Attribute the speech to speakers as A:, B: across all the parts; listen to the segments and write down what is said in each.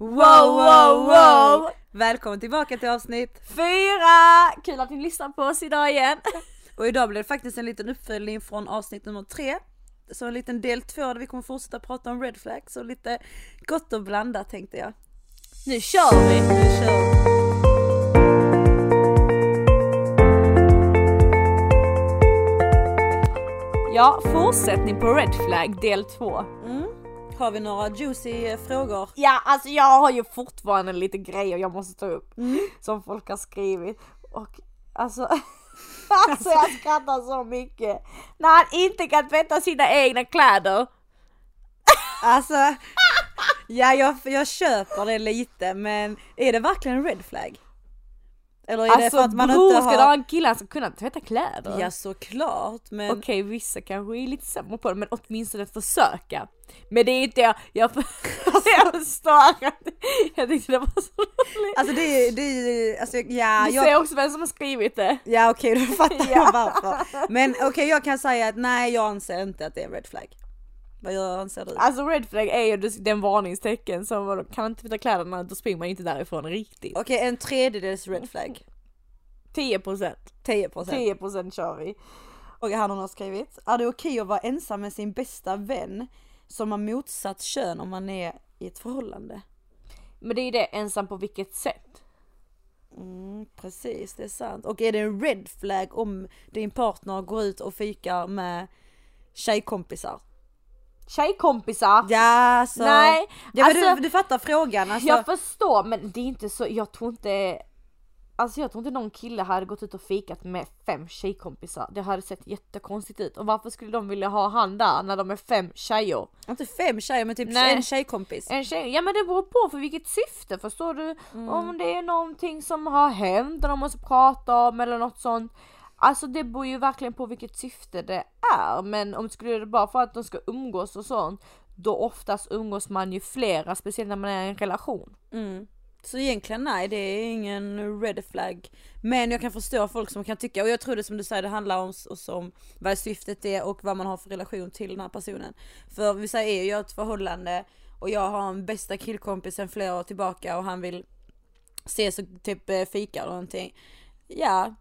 A: Wow, wow, wow! Välkommen tillbaka till avsnitt!
B: Fyra! Kul att ni lyssnar på oss idag igen.
A: Och idag blir det faktiskt en liten uppföljning från avsnitt nummer tre. Så en liten del två där vi kommer fortsätta prata om red flags och lite gott och blandat tänkte jag.
B: Nu kör vi!
A: Nu kör vi.
B: Ja, fortsättning på Red Flag del 2.
A: Har vi några juicy eh, frågor?
B: Ja, alltså jag har ju fortfarande lite grejer jag måste ta upp som folk har skrivit och alltså Alltså jag skrattar så mycket. När han inte kan tvätta sina egna kläder.
A: Alltså, ja jag, jag köper det lite men är det verkligen en red flag? Eller är det
B: Alltså
A: för att man
B: bror
A: inte
B: ska du ha
A: har...
B: en kille som kunna tvätta kläder?
A: Ja såklart men...
B: Okej vissa kanske är lite sämre på det men åtminstone försöka. Men det är inte jag, jag, jag förstår att jag tyckte det var så roligt.
A: Alltså det är det är, alltså ja
B: Du
A: jag
B: ser också vem som har skrivit det.
A: Ja okej, då fattar
B: Ja.
A: jag varför. Men okej, jag kan säga att nej, jag anser inte att det är en red flag. Vad gör- anser du?
B: Alltså red flag är ju den varningstecken som vadå, kan man inte tvätta kläderna då springer man inte därifrån riktigt.
A: Okej, en tredjedels red flag.
B: 10%
A: 10 procent.
B: 10% kör vi.
A: Och han har skrivit. Är det okej att vara ensam med sin bästa vän som har motsatt kön om man är i ett förhållande?
B: Men det är ju det ensam på vilket sätt.
A: Mm, precis, det är sant. Och är det en red flag om din partner går ut och fikar med tjejkompisar?
B: Tjejkompisar!
A: Ja, så.
B: Nej,
A: Ja, men
B: alltså-
A: du, du fattar frågan. Alltså,
B: Jag förstår men det är inte så, jag tror inte Alltså jag tror inte någon kille hade gått ut och fikat med fem tjejkompisar. Det hade sett jättekonstigt ut. Och varför skulle de vilja ha han där när de är fem tjejer?
A: Inte fem tjejer, men typ
B: Nej.
A: en tjejkompis.
B: En tjej, ja men det beror på för vilket syfte förstår du? Om det är någonting som har hänt och de måste prata om eller något sånt. Alltså det beror ju verkligen på vilket syfte det är. Men om det skulle vara bara för att de ska umgås och sånt. Då oftast umgås man ju flera, speciellt när man är i en relation.
A: Så egentligen nej, det är ingen red flag. Men jag kan förstå folk som kan tycka, och jag tror det som du säger, det handlar om, s- om vad syftet är och vad man har för relation till den här personen. För vi säger, är jag i ett förhållande och jag har en bästa killkompis sedan flera år tillbaka och han vill ses och typ eh, fika eller någonting. Ja,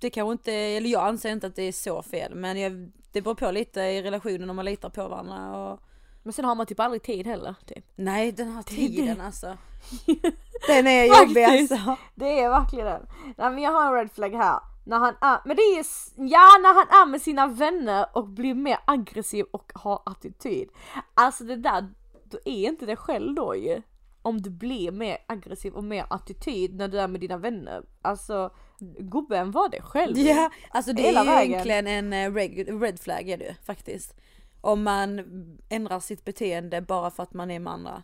A: det kanske inte, eller jag anser inte att det är så fel men jag, det beror på lite i relationen om man litar på varandra och
B: Men sen har man typ aldrig tid heller. Typ.
A: Nej den här tiden alltså. Den är jobbig
B: Faktiskt.
A: alltså.
B: Det är verkligen den. Nej men jag har en red flag här. När han är, men det är, s- ja när han är med sina vänner och blir mer aggressiv och har attityd. Alltså det där, du är inte det själv då ju. Om du blir mer aggressiv och mer attityd när du är med dina vänner. Alltså gubben var det själv.
A: Ja, alltså det
B: Mm. Hela
A: är ju
B: vägen.
A: egentligen en eh, reg- red flag är det ju faktiskt. Om man ändrar sitt beteende bara för att man är med andra.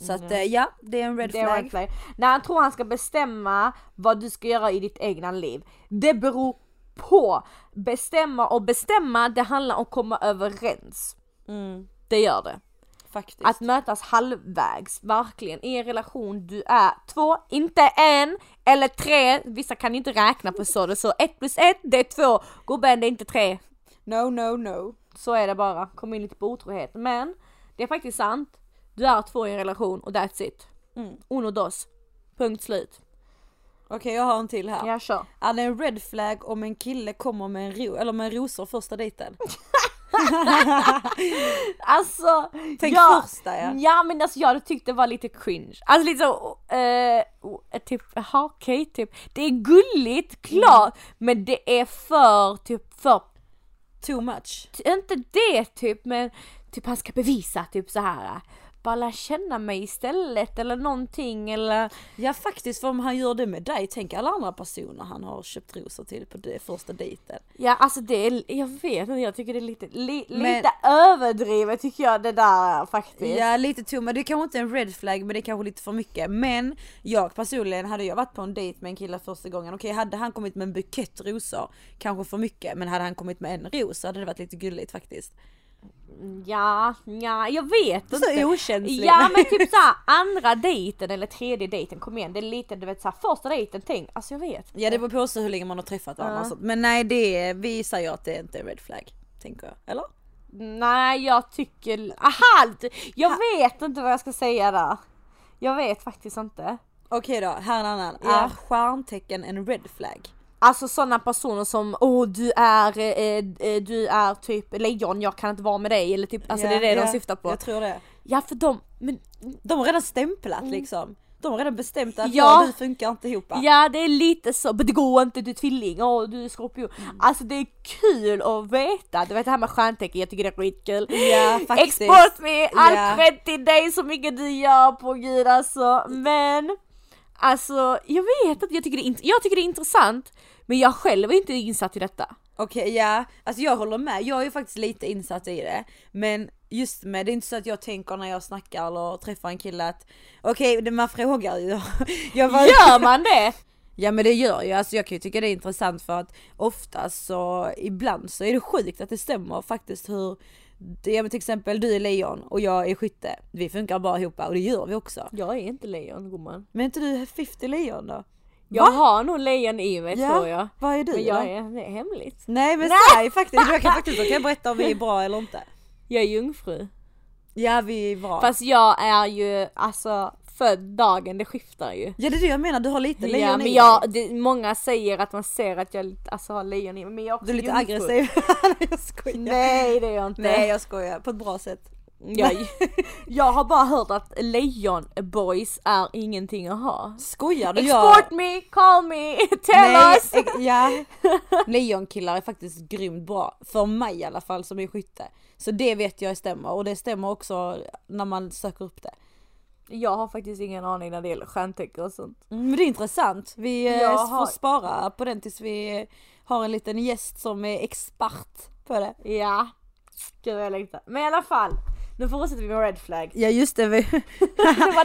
A: Så att eh, ja, det är en red
B: Mhm. Det är
A: flag.
B: red flag. När han tror han ska bestämma vad du ska göra i ditt egna liv. Det beror på. Bestämma och bestämma, det handlar om att komma överens.
A: Mm,
B: Det gör det.
A: faktiskt.
B: Att mötas halvvägs, verkligen. I en relation, du är två, inte en, eller tre. Vissa kan inte räkna på så det så. Ett plus ett, det är två. Gubben, det är inte tre.
A: No, no, no.
B: Så är det bara. Kom in lite på otrohet. Men, det är faktiskt sant. Du är två i en relation och that's it.
A: Mm.
B: Uno dos. Punkt slut.
A: Okej, jag har en till här.
B: Jag kör.
A: Är det en red flag om en kille kommer med en ro eller med rosor första dejten?
B: Alltså,
A: Tänk
B: jag,
A: första ja.
B: ja. men alltså jag hade tyckt det var lite cringe. Alltså lite så, eh, oh, typ, jaha okej typ. Det är gulligt, klart, men det är för typ för,
A: Too much.
B: ty- inte det typ men typ han ska bevisa typ så här. Bara lära känna mig istället eller någonting eller
A: Ja faktiskt, för om han gör det med dig, tänk alla andra personer han har köpt rosor till på det första dejten.
B: Ja alltså det är, jag vet inte, jag tycker det är lite, li,
A: Men-
B: lite överdrivet tycker jag det där är faktiskt.
A: Ja lite tomma, det är kanske inte är en red flag men det är kanske lite för mycket. Men jag personligen, hade jag varit på en dejt med en kille första gången, okej hade han kommit med en bukett rosor, kanske för mycket, men hade han kommit med en ros så hade det varit lite gulligt faktiskt.
B: Ja, ja, jag vet
A: Så
B: inte.
A: okänslig.
B: Ja men typ såhär andra dejten eller tredje dejten, kom igen det är lite du vet såhär första dejten, tänk, alltså jag vet.
A: Ja det beror på så hur länge man har träffat varandra och
B: Ja.
A: sånt. Men nej det, är- vi säger att det är inte är en red flag, tänker jag. Eller?
B: Nej jag tycker, aha! d- Jag vet inte vad jag ska säga där. Jag vet faktiskt inte.
A: Okej då, här är en annan.
B: Ja.
A: Är stjärntecken en red flag?
B: Alltså sådana personer som åh du är, eh, eh, du är typ lejon, jag kan inte vara med dig eller typ, alltså
A: Ja,
B: det är det
A: ja,
B: de syftar på.
A: Jag tror det.
B: Ja för de, men
A: De har redan stämplat liksom. De har redan bestämt att
B: Mm. Ja.
A: ja. du funkar inte ihop.
B: ja det är lite så, men det går inte, du är tvilling, åh du är skorpion.
A: Mm.
B: Alltså det är kul att veta, du vet det här med stjärntecken, jag tycker det är skitkul.
A: Ja, faktiskt.
B: Export me! All
A: Ja.
B: cred till dig så mycket du gör på gud alltså. Men alltså jag vet att jag tycker det är, int- jag tycker det är intressant men jag själv är inte insatt i detta.
A: Okej ja, alltså jag håller med. Jag är ju faktiskt lite insatt i det. Men just med, det är inte så att jag tänker när jag snackar eller träffar en kille att okej det- man frågar ju. Jag bara,
B: Gör man det?
A: Ja men det gör jag, alltså jag kan ju tycka det är intressant för att oftast så, ibland så är det sjukt att det stämmer faktiskt hur, ja men till exempel du är lejon och jag är skytte, vi funkar bara ihop och det gör vi också.
B: Jag är inte lejon gumman.
A: Men är inte du 50 lejon då?
B: Jag har nog lejon i mig tror jag.
A: Vad är du
B: Men
A: då?
B: jag är, det är hemligt.
A: Nej men såhär faktiskt, jag kan faktiskt jag kan berätta om vi är bra eller inte.
B: Jag är jungfru.
A: Ja vi är bra.
B: Fast jag är ju alltså född dagen, det skiftar ju.
A: Ja det är det jag menar, du har lite lejon
B: Ja
A: i
B: men
A: dig.
B: jag, det, många säger att man ser att jag lite- alltså, har lejon i mig men jag är
A: Du
B: också
A: är lite
B: jungfru.
A: aggressiv. Nej jag skojar.
B: Nej det är jag inte.
A: Nej jag skojar, på ett bra sätt.
B: Jag, jag har bara hört att lejonboys är ingenting att ha.
A: Skojar du? Jag-
B: Export me, call me, tell
A: Nej,
B: us!
A: ex- ja. Lejonkillar är faktiskt grymt bra. För mig i alla fall som är skytte. Så det vet jag stämmer och det stämmer också när man söker upp det.
B: Jag har faktiskt ingen aning när det gäller stjärntecken och sånt.
A: Mm, Men det är intressant. Vi eh,
B: Jag
A: s- får
B: har-
A: spara på den tills vi eh, har en liten gäst som är expert på det.
B: Ja, gud vad jag längtar. Men i alla fall, nu fortsätter vi med red flag.
A: Ja just det. Vi...
B: Det var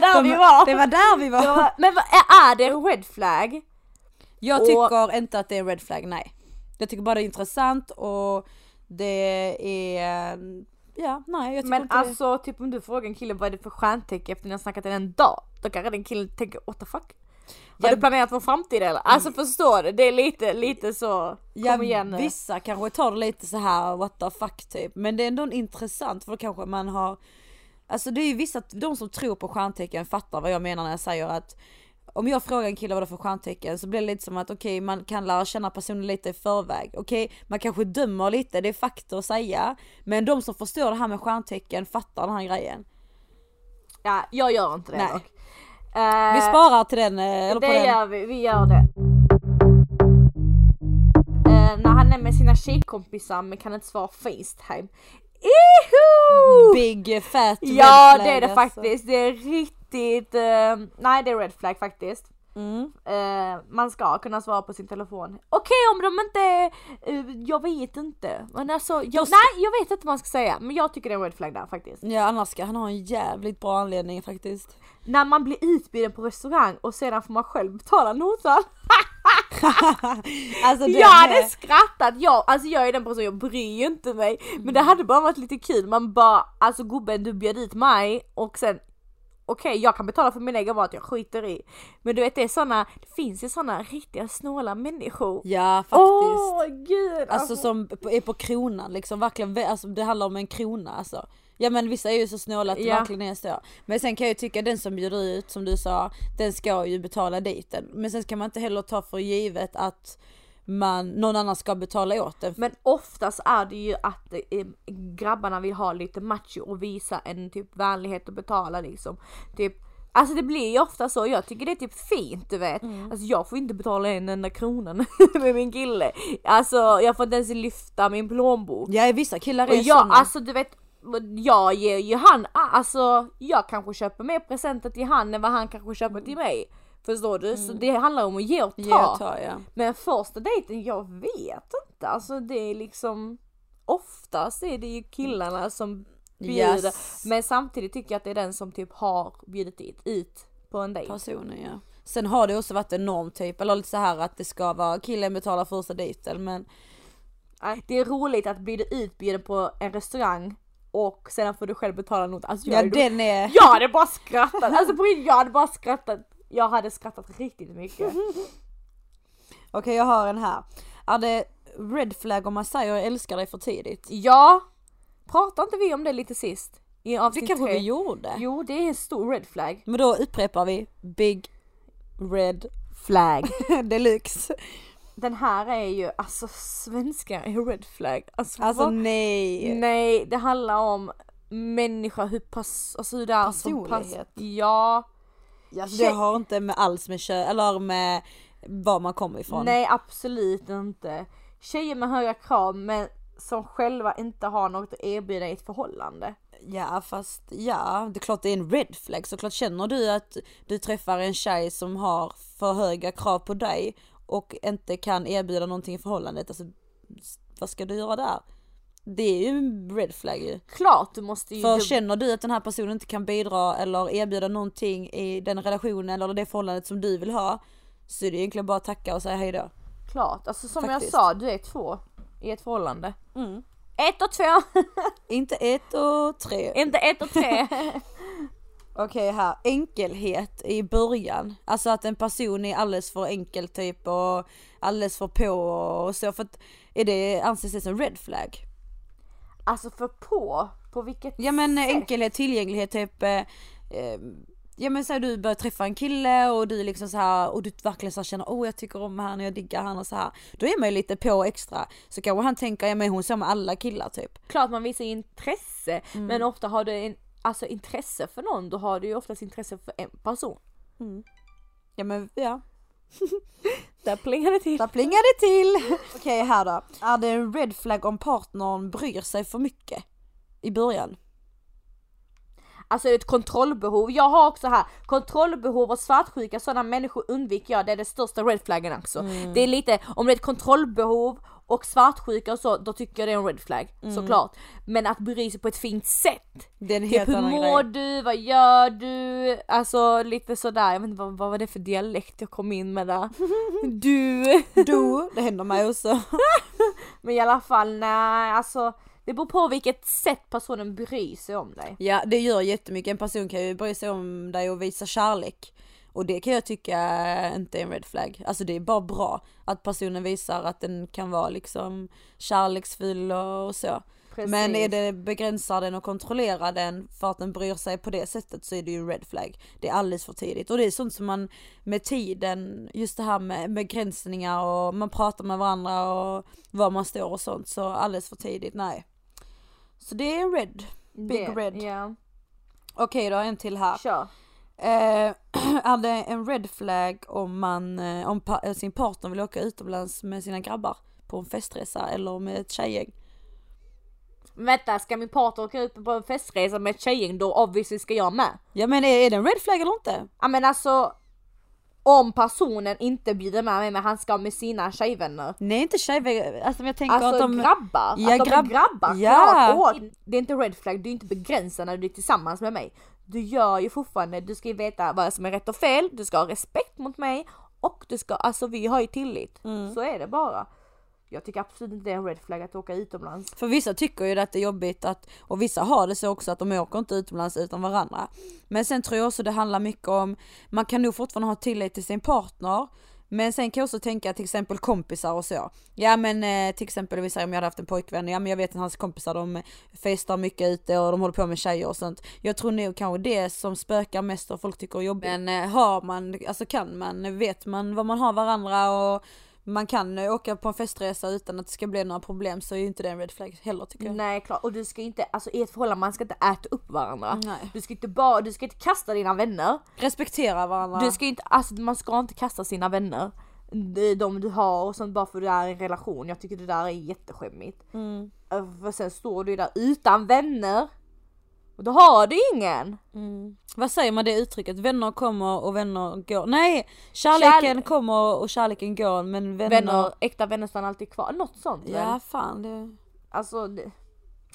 B: där vi var!
A: Det var där vi var.
B: Det var- Men vad är är det en red flag?
A: Jag
B: Och-
A: tycker inte att det är en red flag, nej. Jag tycker bara det är intressant och det är, ja nej jag tycker
B: Men
A: inte det.
B: alltså typ om du frågar en kille vad är det för stjärntecken efter ni har snackat i en dag? Då kanske den killen tänker what the fuck? Har
A: Ja. Mm.
B: du planerat vår framtid eller? Alltså förstår du? Det är lite, lite så, kom igen nu.
A: Vissa kanske tar det lite så här what the fuck typ. Men det är ändå intressant för då kanske man har Alltså det är ju vissa, de som tror på stjärntecken fattar vad jag menar när jag säger att om jag frågar en kille vad det är för stjärntecken så blir det lite som att okej man kan lära känna personen lite i förväg. Okej man kanske dömer lite, det är fakta att säga. Men de som förstår det här med stjärntecken fattar den här grejen.
B: Ja, jag gör inte det
A: Nej.
B: dock.
A: Vi
B: Eh,
A: sparar till den, eh, eller på
B: det
A: den.
B: gör vi, vi gör det. Eh, när han är med sina tjejkompisar men kan inte svara Facetime.
A: Mm.
B: Iho!
A: Big eh, fat
B: Ja
A: red flag,
B: det är det
A: alltså.
B: faktiskt, det är riktigt, eh, nej det är red flag faktiskt.
A: Mm.
B: Eh, man ska kunna svara på sin telefon. Okej om de inte, eh, jag vet inte. Men alltså, jag,
A: Jag ska-
B: nej jag vet inte vad man ska säga men jag tycker det är en red flag där faktiskt.
A: Ja annars ska han ha en jävligt bra anledning faktiskt.
B: När man blir utbjuden på restaurang och sedan får man själv betala notan.
A: Alltså den
B: Jag hade
A: är-
B: skrattat, jag, alltså jag är den personen, jag bryr ju inte mig. Men
A: Mm.
B: det hade bara varit lite kul, man bara alltså gubben du bjöd dit mig och sen okej jag kan betala för min egen mat, jag skiter i. Men du vet det är såna, det finns ju såna riktiga snåla människor.
A: Ja faktiskt.
B: Åh gud!
A: Alltså som på- är på kronan liksom, verkligen, vä- alltså, det handlar om en krona alltså. Ja men vissa är ju så snåla att det
B: Ja.
A: verkligen är så. Men sen kan jag ju tycka den som bjuder ut som du sa, den ska ju betala dit den. Men sen kan man inte heller ta för givet att man, någon annan ska betala åt den.
B: Men oftast är det ju att eh, grabbarna vill ha lite macho och visa en typ vänlighet och betala liksom. Typ, alltså det blir ju ofta så, jag tycker det är typ fint du vet.
A: Mm.
B: Alltså jag får inte betala en enda kronan med min kille. Alltså jag får inte ens lyfta min plånbok.
A: Ja vissa killar
B: Och
A: är
B: jag,
A: såna.
B: alltså du vet, jag ger ju han, alltså jag kanske köper mer presenter till han än vad han kanske köper till mig. Förstår du? Så det handlar om att ge och ta.
A: Mm. Ge och ta, ja.
B: Men första dejten, jag vet inte. Alltså det är liksom oftast är det ju killarna som bjuder.
A: Yes.
B: Men samtidigt tycker jag att det är den som typ har bjudit dit, ut på en dejt.
A: personen ja. Sen har det också varit en norm typ, eller lite så här att det ska vara killen betalar första dejten men
B: Nej, Det är roligt att bli utbjuden på en restaurang och sedan får du själv betala något. Alltså jag,
A: ja
B: hade,
A: den är,
B: jag hade bara skrattat. Alltså på riktigt, jag hade bara skrattat. Jag hade skrattat riktigt mycket.
A: okej jag har en här. Är det red flag om man säger jag älskar dig för tidigt?
B: Ja, pratade inte vi om det lite sist? I
A: Det
B: avsnitt
A: kanske
B: tre.
A: vi gjorde.
B: Jo det är en stor red flag.
A: Men då upprepar vi Big Red
B: Flag.
A: Deluxe.
B: Den här är ju, alltså svenskar är red flag. Alltså,
A: Alltså
B: vad-
A: nej.
B: Nej, det handlar om människa, hur pass, alltså hur det är som pass.
A: Personlighet.
B: Ja,
A: Alltså, det har inte med alls med kö eller med var man kommer ifrån.
B: nej absolut inte. Tjejer med höga krav men som själva inte har något att erbjuda i ett förhållande.
A: Ja fast ja, det är klart det är en red flag. Såklart känner du att du träffar en tjej som har för höga krav på dig och inte kan erbjuda någonting i förhållandet. Alltså, s- vad ska du göra där? Det är ju en red flag ju.
B: Klart du måste ju...
A: För
B: du-
A: känner du att den här personen inte kan bidra eller erbjuda någonting i den relationen eller det förhållandet som du vill ha så är det egentligen bara att tacka och säga hejdå.
B: Klart, alltså som
A: Faktiskt. Mm.
B: jag sa, du är två i ett förhållande. Ett och två,
A: Inte ett och tre.
B: inte ett och tre.
A: Okej här, enkelhet i början. Alltså att en person är alldeles för enkel typ och alldeles för på och så för att är det, anses det som red flag?
B: alltså för på, på vilket
A: Ja men eh,
B: sätt?
A: enkelhet, tillgänglighet typ eh, eh, Ja men säg du börjar träffa en kille och du liksom så här och du verkligen så här känner åh jag tycker om han och jag diggar han och så här. Då är man ju lite på extra. Så kanske han tänker ja men hon ser med alla killar typ.
B: klart man visar intresse men ofta har du en, alltså intresse för någon då har du ju oftast intresse för en person.
A: Ja men ja.
B: Där plingar det till.
A: Där plingar det till! Okej här då. Är det en red flag om partnern bryr sig för mycket? I början.
B: Alltså ett kontrollbehov. Jag har också här kontrollbehov och svartsjuka sådana människor undviker jag. Det är det största red flaggen också. Det är lite om det är ett kontrollbehov och svartsjuka och så då tycker jag det är en red flag såklart. Men att bry sig på ett fint sätt.
A: Det är en
B: Typ
A: helt
B: hur
A: annan
B: mår
A: grej.
B: du? Vad gör du? Alltså lite sådär. Jag vet inte vad, vad var det för dialekt jag kom in med där. Du.
A: Du, det händer mig också.
B: Men i alla fall nej, alltså det beror på vilket sätt personen bryr sig om dig.
A: Ja det gör jättemycket, en person kan ju bry sig om dig och visa kärlek. Och det kan jag tycka inte är en red flag. Alltså det är bara bra att personen visar att den kan vara liksom kärleksfull och så.
B: Precis.
A: Men är det begränsar den och kontrollerar den för att den bryr sig på det sättet så är det ju en red flag. Det är alldeles för tidigt och det är sånt som man med tiden, just det här med begränsningar och man pratar med varandra och var man står och sånt så alldeles för tidigt, nej. Så det är en red. Big
B: Det-
A: Red.
B: Ja,
A: Okej då, en till här.
B: kör.
A: Eh, är det en red flag om man, eh, om pa- eh, sin partner vill åka utomlands med sina grabbar på en festresa eller med ett tjejgäng?
B: Vänta, ska min partner åka ut på en festresa med ett tjejgäng då obviously ska jag med.
A: Ja men är, är det en red flag eller inte?
B: Ja men alltså om personen inte bjuder med mig men han ska med sina tjejvänner.
A: Nej inte tjejgäng, alltså men jag tänker
B: Alltså
A: att de...
B: grabbar,
A: Ja,
B: att de
A: grabb-
B: är grabbar,
A: Ja.
B: klart! Åh, det är inte red flag, du är inte begränsad när du är tillsammans med mig. Du gör ju fortfarande, du ska ju veta vad som är rätt och fel, du ska ha respekt mot mig och du ska, alltså vi har ju tillit.
A: Mm.
B: Så är det bara. Jag tycker absolut inte det är en red flag att åka utomlands.
A: För vissa tycker ju att det är jobbigt att, och vissa har det så också att de åker inte utomlands utan varandra. Men sen tror jag också det handlar mycket om, man kan nog fortfarande ha tillit till sin partner. Men sen kan jag också tänka till exempel kompisar och så. Ja men eh, till exempel vi säger om jag hade haft en pojkvän, ja men jag vet att hans kompisar de festar mycket ute och de håller på med tjejer och sånt. Jag tror nog kanske det som spökar mest och folk tycker är jobbigt. Men eh, har man, alltså kan man, vet man vad man har varandra och man kan eh, åka på en festresa utan att det ska bli några problem så är ju inte det en red flag heller tycker jag.
B: Nej klart, och du ska inte, alltså i ett förhållande man ska inte äta upp varandra.
A: Nej.
B: Du ska inte bara, du ska inte kasta dina vänner.
A: Respektera varandra.
B: Du ska inte, alltså man ska inte kasta sina vänner. De, de du har och sånt bara för du är i en relation. Jag tycker det där är jätteskämmigt.
A: Mm.
B: Eh, För sen står du ju där utan vänner. Och då har du ingen. Mm.
A: Vad säger man det uttrycket? Vänner kommer och vänner går. Nej! Kärleken
B: Kärle-
A: kommer och kärleken går men vänner...
B: Vänner, äkta vänner stannar alltid kvar. Något sånt. väl?
A: Ja fan det...
B: Alltså, det,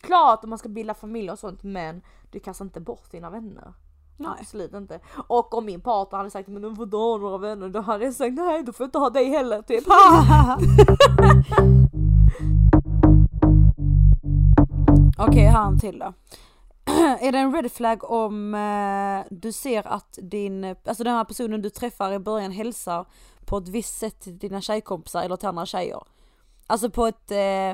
B: klart om man ska bilda familj och sånt men du kastar inte bort dina vänner.
A: Nej.
B: Absolut inte. Och om min partner hade sagt men du får inte ha några vänner då hade jag sagt nej du får inte ha dig heller typ.
A: Okej, här har en till då. är det en red flag om eh, du ser att din, alltså den här personen du träffar i början hälsar på ett visst sätt till dina tjejkompisar eller till andra tjejer? Alltså på ett, eh,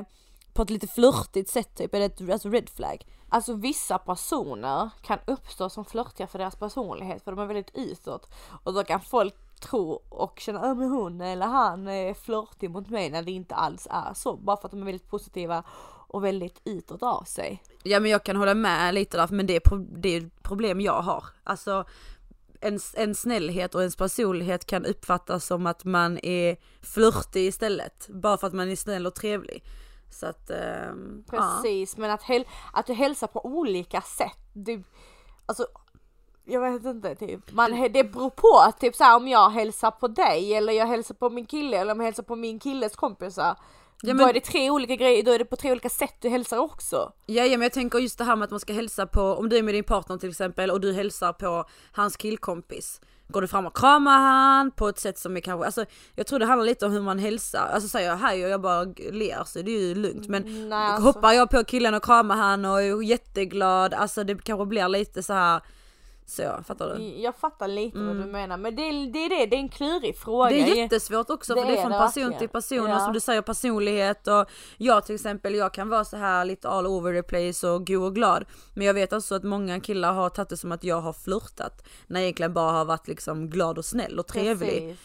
A: på ett lite flörtigt sätt typ, är det ett alltså red flag?
B: Alltså vissa personer kan uppstå som flörtiga för deras personlighet för de är väldigt utåt och då kan folk tro och känna att hon eller han är flörtig mot mig när det inte alls är så bara för att de är väldigt positiva och väldigt utåt av sig.
A: Ja men jag kan hålla med lite där men det är, pro- det är problem jag har. Alltså en, en snällhet och ens personlighet kan uppfattas som att man är flörtig istället. Bara för att man är snäll och trevlig. Så att, ehm, ja.
B: Precis men att, häl- att du hälsar på olika sätt. Du, alltså jag vet inte typ. Man, hä- det beror på typ såhär om jag hälsar på dig eller jag hälsar på min kille eller om jag hälsar på min killes kompisar. Då
A: men-
B: är det tre olika grejer, då är det på tre olika sätt du hälsar också.
A: Ja, ja men jag tänker just det här med att man ska hälsa på, om du är med din partner till exempel och du hälsar på hans killkompis. Går du fram och kramar han på ett sätt som är kanske, alltså jag tror det handlar lite om hur man hälsar, alltså säger jag hej och jag bara ler så det är ju lugnt men
B: Nej, alltså.
A: hoppar jag på killen och kramar han och är jätteglad, alltså det kanske blir lite så här så, fattar du?
B: Jag fattar lite vad du menar men det, är- det är det, det är en klurig fråga.
A: Mm. Det är jättesvårt också
B: Det
A: för det är
B: är
A: från
B: det
A: person till
B: verkligen.
A: person
B: Ja.
A: och som du säger personlighet och jag till exempel jag kan vara så här lite all over the place och go och glad men jag vet också att många killar har tagit det som att jag har flörtat när jag egentligen bara har varit liksom glad och snäll och trevlig.
B: Precis.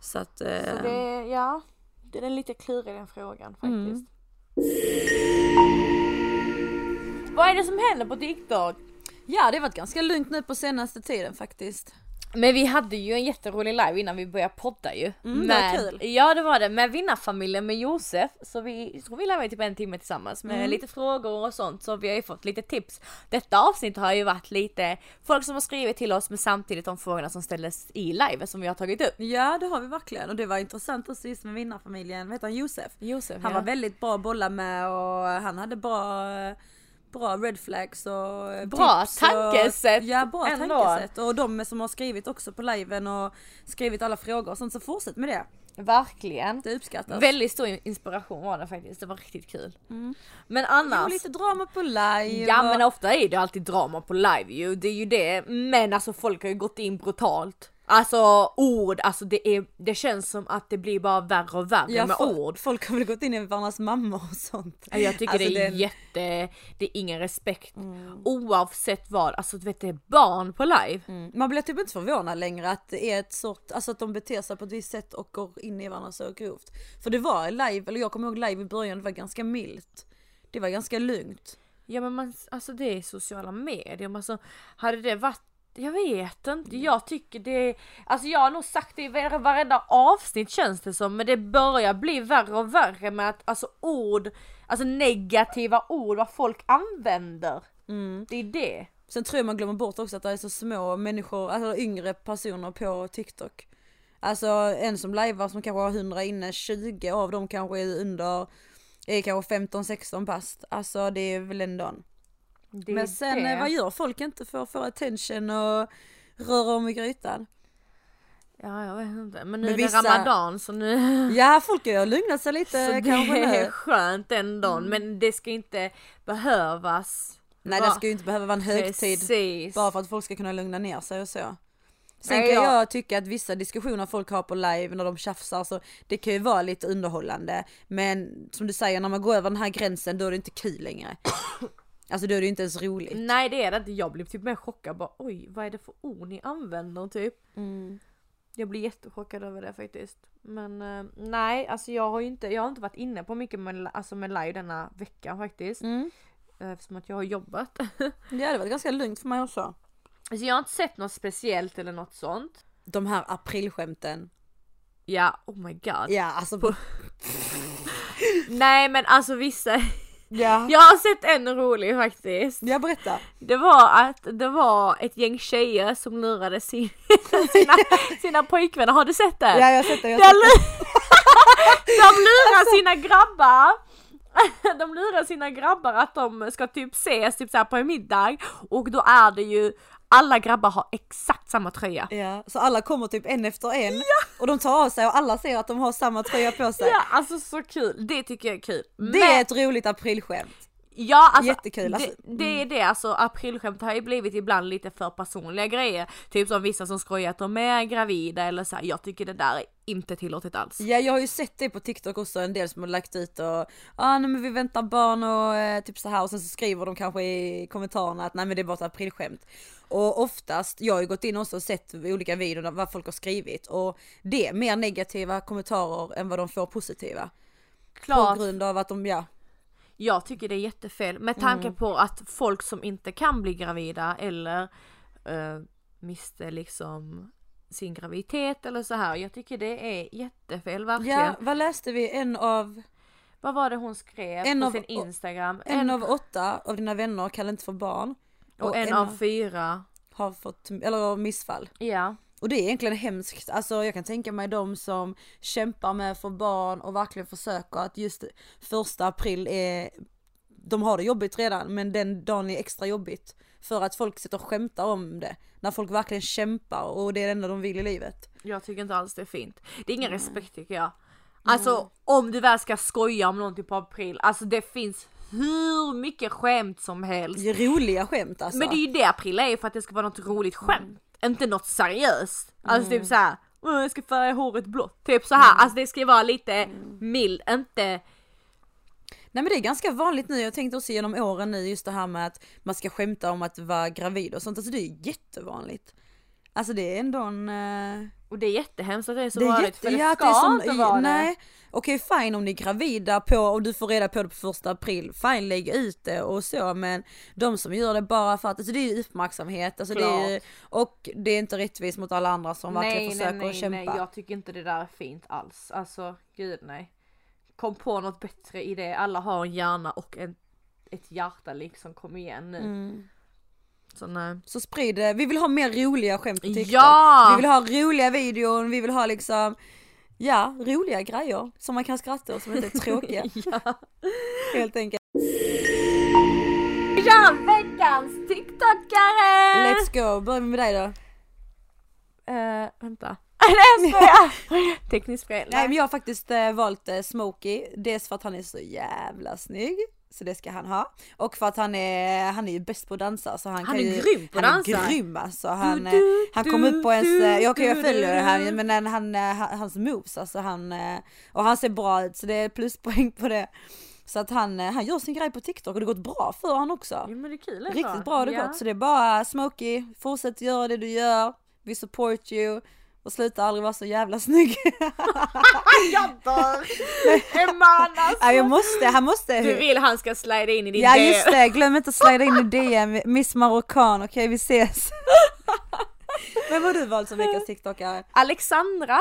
A: Så att eh,
B: Så det, ja, den är lite klurig den frågan faktiskt.
A: Mm.
B: Vad är det som händer på TikTok?
A: ja det har varit ganska lugnt nu på senaste tiden faktiskt.
B: Men vi hade ju en jätterolig live innan vi började podda ju.
A: Mm, det var
B: med,
A: kul.
B: Ja det var det, med vinnarfamiljen med Josef. Så vi jag tror vi levde typ en timme tillsammans med
A: Mm.
B: lite frågor och sånt. Så vi har ju fått lite tips. Detta avsnitt har ju varit lite folk som har skrivit till oss men samtidigt de frågorna som ställdes i live som vi har tagit upp.
A: Ja det har vi verkligen och det var intressant också just med vinnarfamiljen, vad heter han Josef?
B: Josef
A: Han
B: ja.
A: var väldigt bra att bolla med och han hade bra, bra red flags och eh,
B: Bra
A: tips
B: tankesätt
A: Och, ja bra
B: ändå.
A: tankesätt och de som har skrivit också på liven och skrivit alla frågor och sånt så fortsätt med det.
B: Verkligen.
A: Det uppskattas.
B: Väldigt stor inspiration var det faktiskt, det var riktigt kul.
A: Mm.
B: Men annars.
A: Och lite drama på live.
B: Ja
A: och-
B: men ofta är det alltid drama på live ju, det är ju det. Men alltså folk har ju gått in brutalt. Alltså ord, alltså det, är, det känns som att det blir bara värre och värre
A: ja,
B: med
A: fo-
B: ord.
A: Folk har väl gått in i varandras mammor och sånt.
B: Ja, Jag tycker
A: Alltså,
B: det är
A: den- Mm.
B: jätte, det är ingen respekt. Oavsett vad, alltså du vet det är barn på live.
A: Man blir typ inte förvånad längre att det är ett sort, alltså att de beter sig på ett visst sätt och går in i varandra så grovt. För det var live, eller jag kommer ihåg live i början, det var ganska milt. Det var ganska lugnt.
B: Ja men man, alltså det är sociala medier, men alltså hade det varit jag vet inte, jag tycker det Alltså jag har nog sagt det i var- varenda avsnitt känns det som, men det börjar bli värre och värre med att alltså ord, alltså negativa ord, vad folk använder.
A: Mm.
B: Det är det.
A: Sen tror jag man glömmer bort också att det är så små människor, alltså yngre personer på TikTok. Alltså en som lajvar som kanske har 100 inne, 20 av dem kanske är under, är kanske 15-16 bast. Alltså det är väl ändå en.
B: det är
A: Men sen
B: det.
A: eh, vad gör folk inte för att få attention och röra om i grytan?
B: Ja jag vet inte, men nu
A: Men
B: är det
A: vissa-
B: ramadan så nu...
A: Ja folk har lugnat sig lite
B: Så
A: kanske
B: det är
A: nu.
B: skönt den dagen, men det ska inte behövas.
A: Nej det
B: vara-
A: ska ju inte behöva vara en högtid.
B: Precis.
A: Bara för att folk ska kunna lugna ner sig och så. Sen
B: Nej,
A: kan
B: jag-
A: jag tycka att vissa diskussioner folk har på live när de tjafsar så det kan ju vara lite underhållande. Men som du säger när man går över den här gränsen då är det inte kul längre. Alltså då är det ju inte ens roligt.
B: Nej det är det inte, jag blev typ mer chockad bara oj vad är det för ord ni använder typ.
A: Mm.
B: Jag blir jättechockad över det faktiskt. Men eh, nej alltså jag har ju inte, jag har inte varit inne på mycket med, alltså med live denna veckan faktiskt.
A: Mm.
B: Eh, Eftersom att jag har jobbat.
A: Ja det var ganska lugnt för mig också.
B: så jag har inte sett något speciellt eller något sånt.
A: De här aprilskämten.
B: Ja oh my god.
A: Ja alltså. På...
B: Nej men alltså vissa,
A: Ja.
B: jag har sett en rolig faktiskt.
A: Jag berätta.
B: Det var att det var ett gäng tjejer som lurade sin, sina, sina pojkvänner, har du sett det?
A: Ja jag har sett det. Jag Alltså-
B: De,
A: har sett det.
B: lu- de lurar sina grabbar de lurar sina grabbar att de ska typ ses typ så här på en middag och då är det ju alla grabbar har exakt samma tröja.
A: Ja, så alla kommer typ en efter en och de tar av sig och alla ser att de har samma tröja på sig.
B: Ja, alltså så kul, det tycker jag är kul.
A: Det är ett roligt aprilskämt.
B: Ja alltså,
A: Jättekul, alltså.
B: Det, det är det alltså, aprilskämt har ju blivit ibland lite för personliga grejer. Typ som vissa som skojar att de är gravida eller så här, jag tycker det där är inte tillåtet alls.
A: Ja jag har ju sett det på TikTok också en del som har lagt ut och ah, nej, men vi väntar barn och eh, typ så här och sen så skriver de kanske i kommentarerna att nej men det är bara ett aprilskämt. Och oftast, jag har ju gått in också och sett olika videor där- vad folk har skrivit och det är mer negativa kommentarer än vad de får positiva.
B: Klart,
A: På grund av att de, ja.
B: jag tycker det är jättefel med tanke
A: Mm.
B: på att folk som inte kan bli gravida eller eh, miste liksom sin graviditet eller så här. Jag tycker det är jättefel verkligen.
A: Ja, vad läste vi? En av,
B: Vad var det hon skrev
A: En
B: på
A: av-
B: sin instagram?
A: en av åtta av dina vänner kan inte få barn.
B: och en, av fyra.
A: har fått, eller har missfall.
B: Ja.
A: Och det är egentligen hemskt, alltså jag kan tänka mig de som kämpar med att få barn och verkligen försöker att just första april är, de har det jobbigt redan men den dagen är extra jobbigt. För att folk sitter och skämtar om det. När folk verkligen kämpar och det är det enda de vill i livet.
B: Jag tycker inte alls det är fint. Det är ingen
A: Mm.
B: respekt tycker jag. Alltså om du väl ska skoja om någonting på april, alltså det finns hur mycket skämt som helst.
A: Det är Roliga skämt alltså.
B: Men det är ju det april är ju för att det ska vara något roligt
A: Mm.
B: skämt. Inte något seriöst. Alltså typ såhär, "Åh, jag ska färga håret blått. Typ så
A: Mm.
B: här. alltså det ska ju vara lite mild, inte
A: Nej men det är ganska vanligt nu, jag tänkte också genom åren nu just det här med att man ska skämta om att vara gravid och sånt, alltså det är jättevanligt. Alltså det är ändå en... eh,
B: och det är jättehemskt att det är så
A: Det är
B: vanligt
A: jätte,
B: för det
A: ja,
B: ska
A: det är som,
B: inte vara
A: Nej, okej fine om ni är gravida på och du får reda på det på första april, fine lägg ut det och så men de som gör det bara för att, alltså det är ju uppmärksamhet alltså det är ju, och det är inte rättvist mot alla andra som
B: det.
A: verkligen försöker att
B: nej,
A: kämpa.
B: nej, jag tycker inte det där är fint alls. Alltså gud nej. Kom på något bättre i det, alla har en hjärna och en, ett hjärta liksom, kom igen nu.
A: Mm.
B: Så nej.
A: Så sprid det, vi vill ha mer roliga skämt på TikTok.
B: Ja!
A: Vi vill ha roliga videon, vi vill ha liksom Ja, roliga grejer som man kan skratta åt som inte är tråkiga. Helt enkelt.
B: Vi kör veckans TikTokare!
A: Let's go, börjar vi med dig då.
B: Eh, vänta. Nej jag skojar! Tekniskt fel.
A: Nej men jag har faktiskt eh, valt eh, Smokey, dels för att han är så jävla snygg, så det ska han ha. Och för att han är, han är ju bäst på att dansa så han, kan
B: är
A: ju,
B: grym på att
A: Han
B: dansa.
A: är grym alltså. Han, eh,
B: du,
A: han
B: du,
A: kom upp på ens,
B: du,
A: eh, jag, okay, jag
B: du,
A: följer
B: du,
A: det här
B: du.
A: men han, han, eh, ha- hans moves alltså han, eh, och han ser bra ut så det är pluspoäng på det. Så att han, eh, han gör sin grej på TikTok och det har gått bra för han också.
B: Jo men det är kul.
A: Riktigt bra har det
B: ja.
A: gått så det är bara eh, Smokey, fortsätt göra det du gör, we support you och sluta aldrig vara så jävla snygg.
B: Jag dör! Emman
A: Ja, jag
B: alltså!
A: måste, han måste.
B: Du vill han ska slida in i din
A: ja
B: DM.
A: just det, glöm inte att slida in i DM, Miss Marockan, okej vi ses. Vem har du valt som veckans TikTokare?
B: Alexandra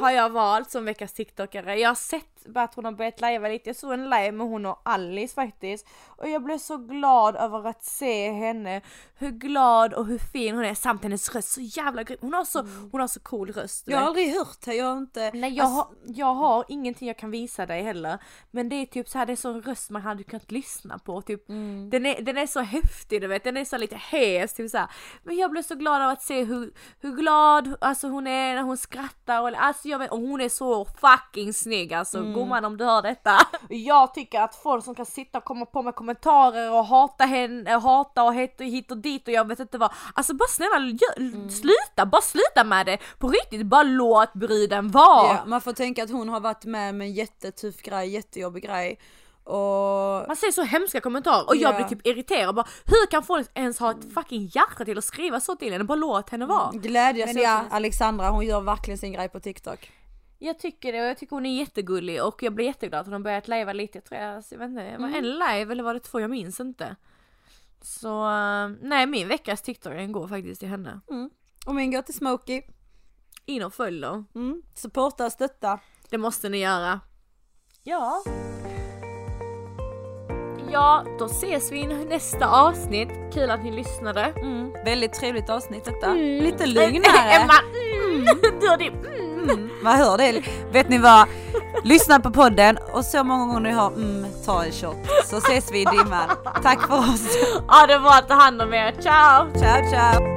B: har jag valt som veckans TikTokare. Jag har sett bara att hon har börjat lajva lite. Jag såg en live med hon och Alice faktiskt. Och jag blev så glad över att se henne. Hur glad och hur fin hon är samt hennes röst. Så jävla grym. Hon har så, hon har så cool röst. du
A: Jag har
B: vet.
A: aldrig hört det, jag har inte... Alltså-
B: Nej jag, har, jag har ingenting jag kan visa dig heller. Men det är typ så här, det är så en röst man hade kunnat lyssna på. Typ. Den, är, den är så häftig du vet, den är så lite hes. Typ så här. Men jag blev så glad av att se hur, hur glad alltså, hon är när hon skrattar. Och, alltså, jag vet, och hon är så fucking snygg alltså. Gumman om du hör detta. Jag tycker att folk som kan sitta och komma på med kommentarer och hata henne, hata och hit och, hit och dit och jag vet inte vad. Alltså bara snälla gör- sluta, bara sluta med det. På riktigt, bara låt bruden vara.
A: Ja, man får tänka att hon har varit med om en jättetuff grej, jättejobbig grej. Och...
B: Man säger så hemska kommentarer och jag
A: Ja.
B: blir typ irriterad bara hur kan folk ens ha ett fucking hjärta till att skriva så till henne? Bara låt henne vara.
A: Glädjas
B: Men
A: ja,
B: också-
A: Alexandra hon gör verkligen sin grej på TikTok.
B: Jag tycker det och jag tycker hon är jättegullig och jag blir jätteglad att hon har börjat lajva lite. Jag tror jag, jag vet inte, var det en live eller var det två? Jag minns inte. Så eh, nej min veckas TikTok går faktiskt till henne.
A: Och min går till Smokey.
B: In och följ då.
A: Mm. Supporta och stötta.
B: Det måste ni göra.
A: Ja.
B: Ja, då ses vi i nästa avsnitt. Kul att ni lyssnade.
A: Mm. Väldigt trevligt avsnitt detta.
B: Mm.
A: Lite lugnare.
B: Emma, mm, du och din mm.
A: Man hör det. Vet ni vad? Lyssna på podden och så många gånger ni har mm, ta en shot. Så ses vi i dimman. Tack för oss.
B: Ja, det var att ta hand om er. Ciao!
A: Ciao ciao.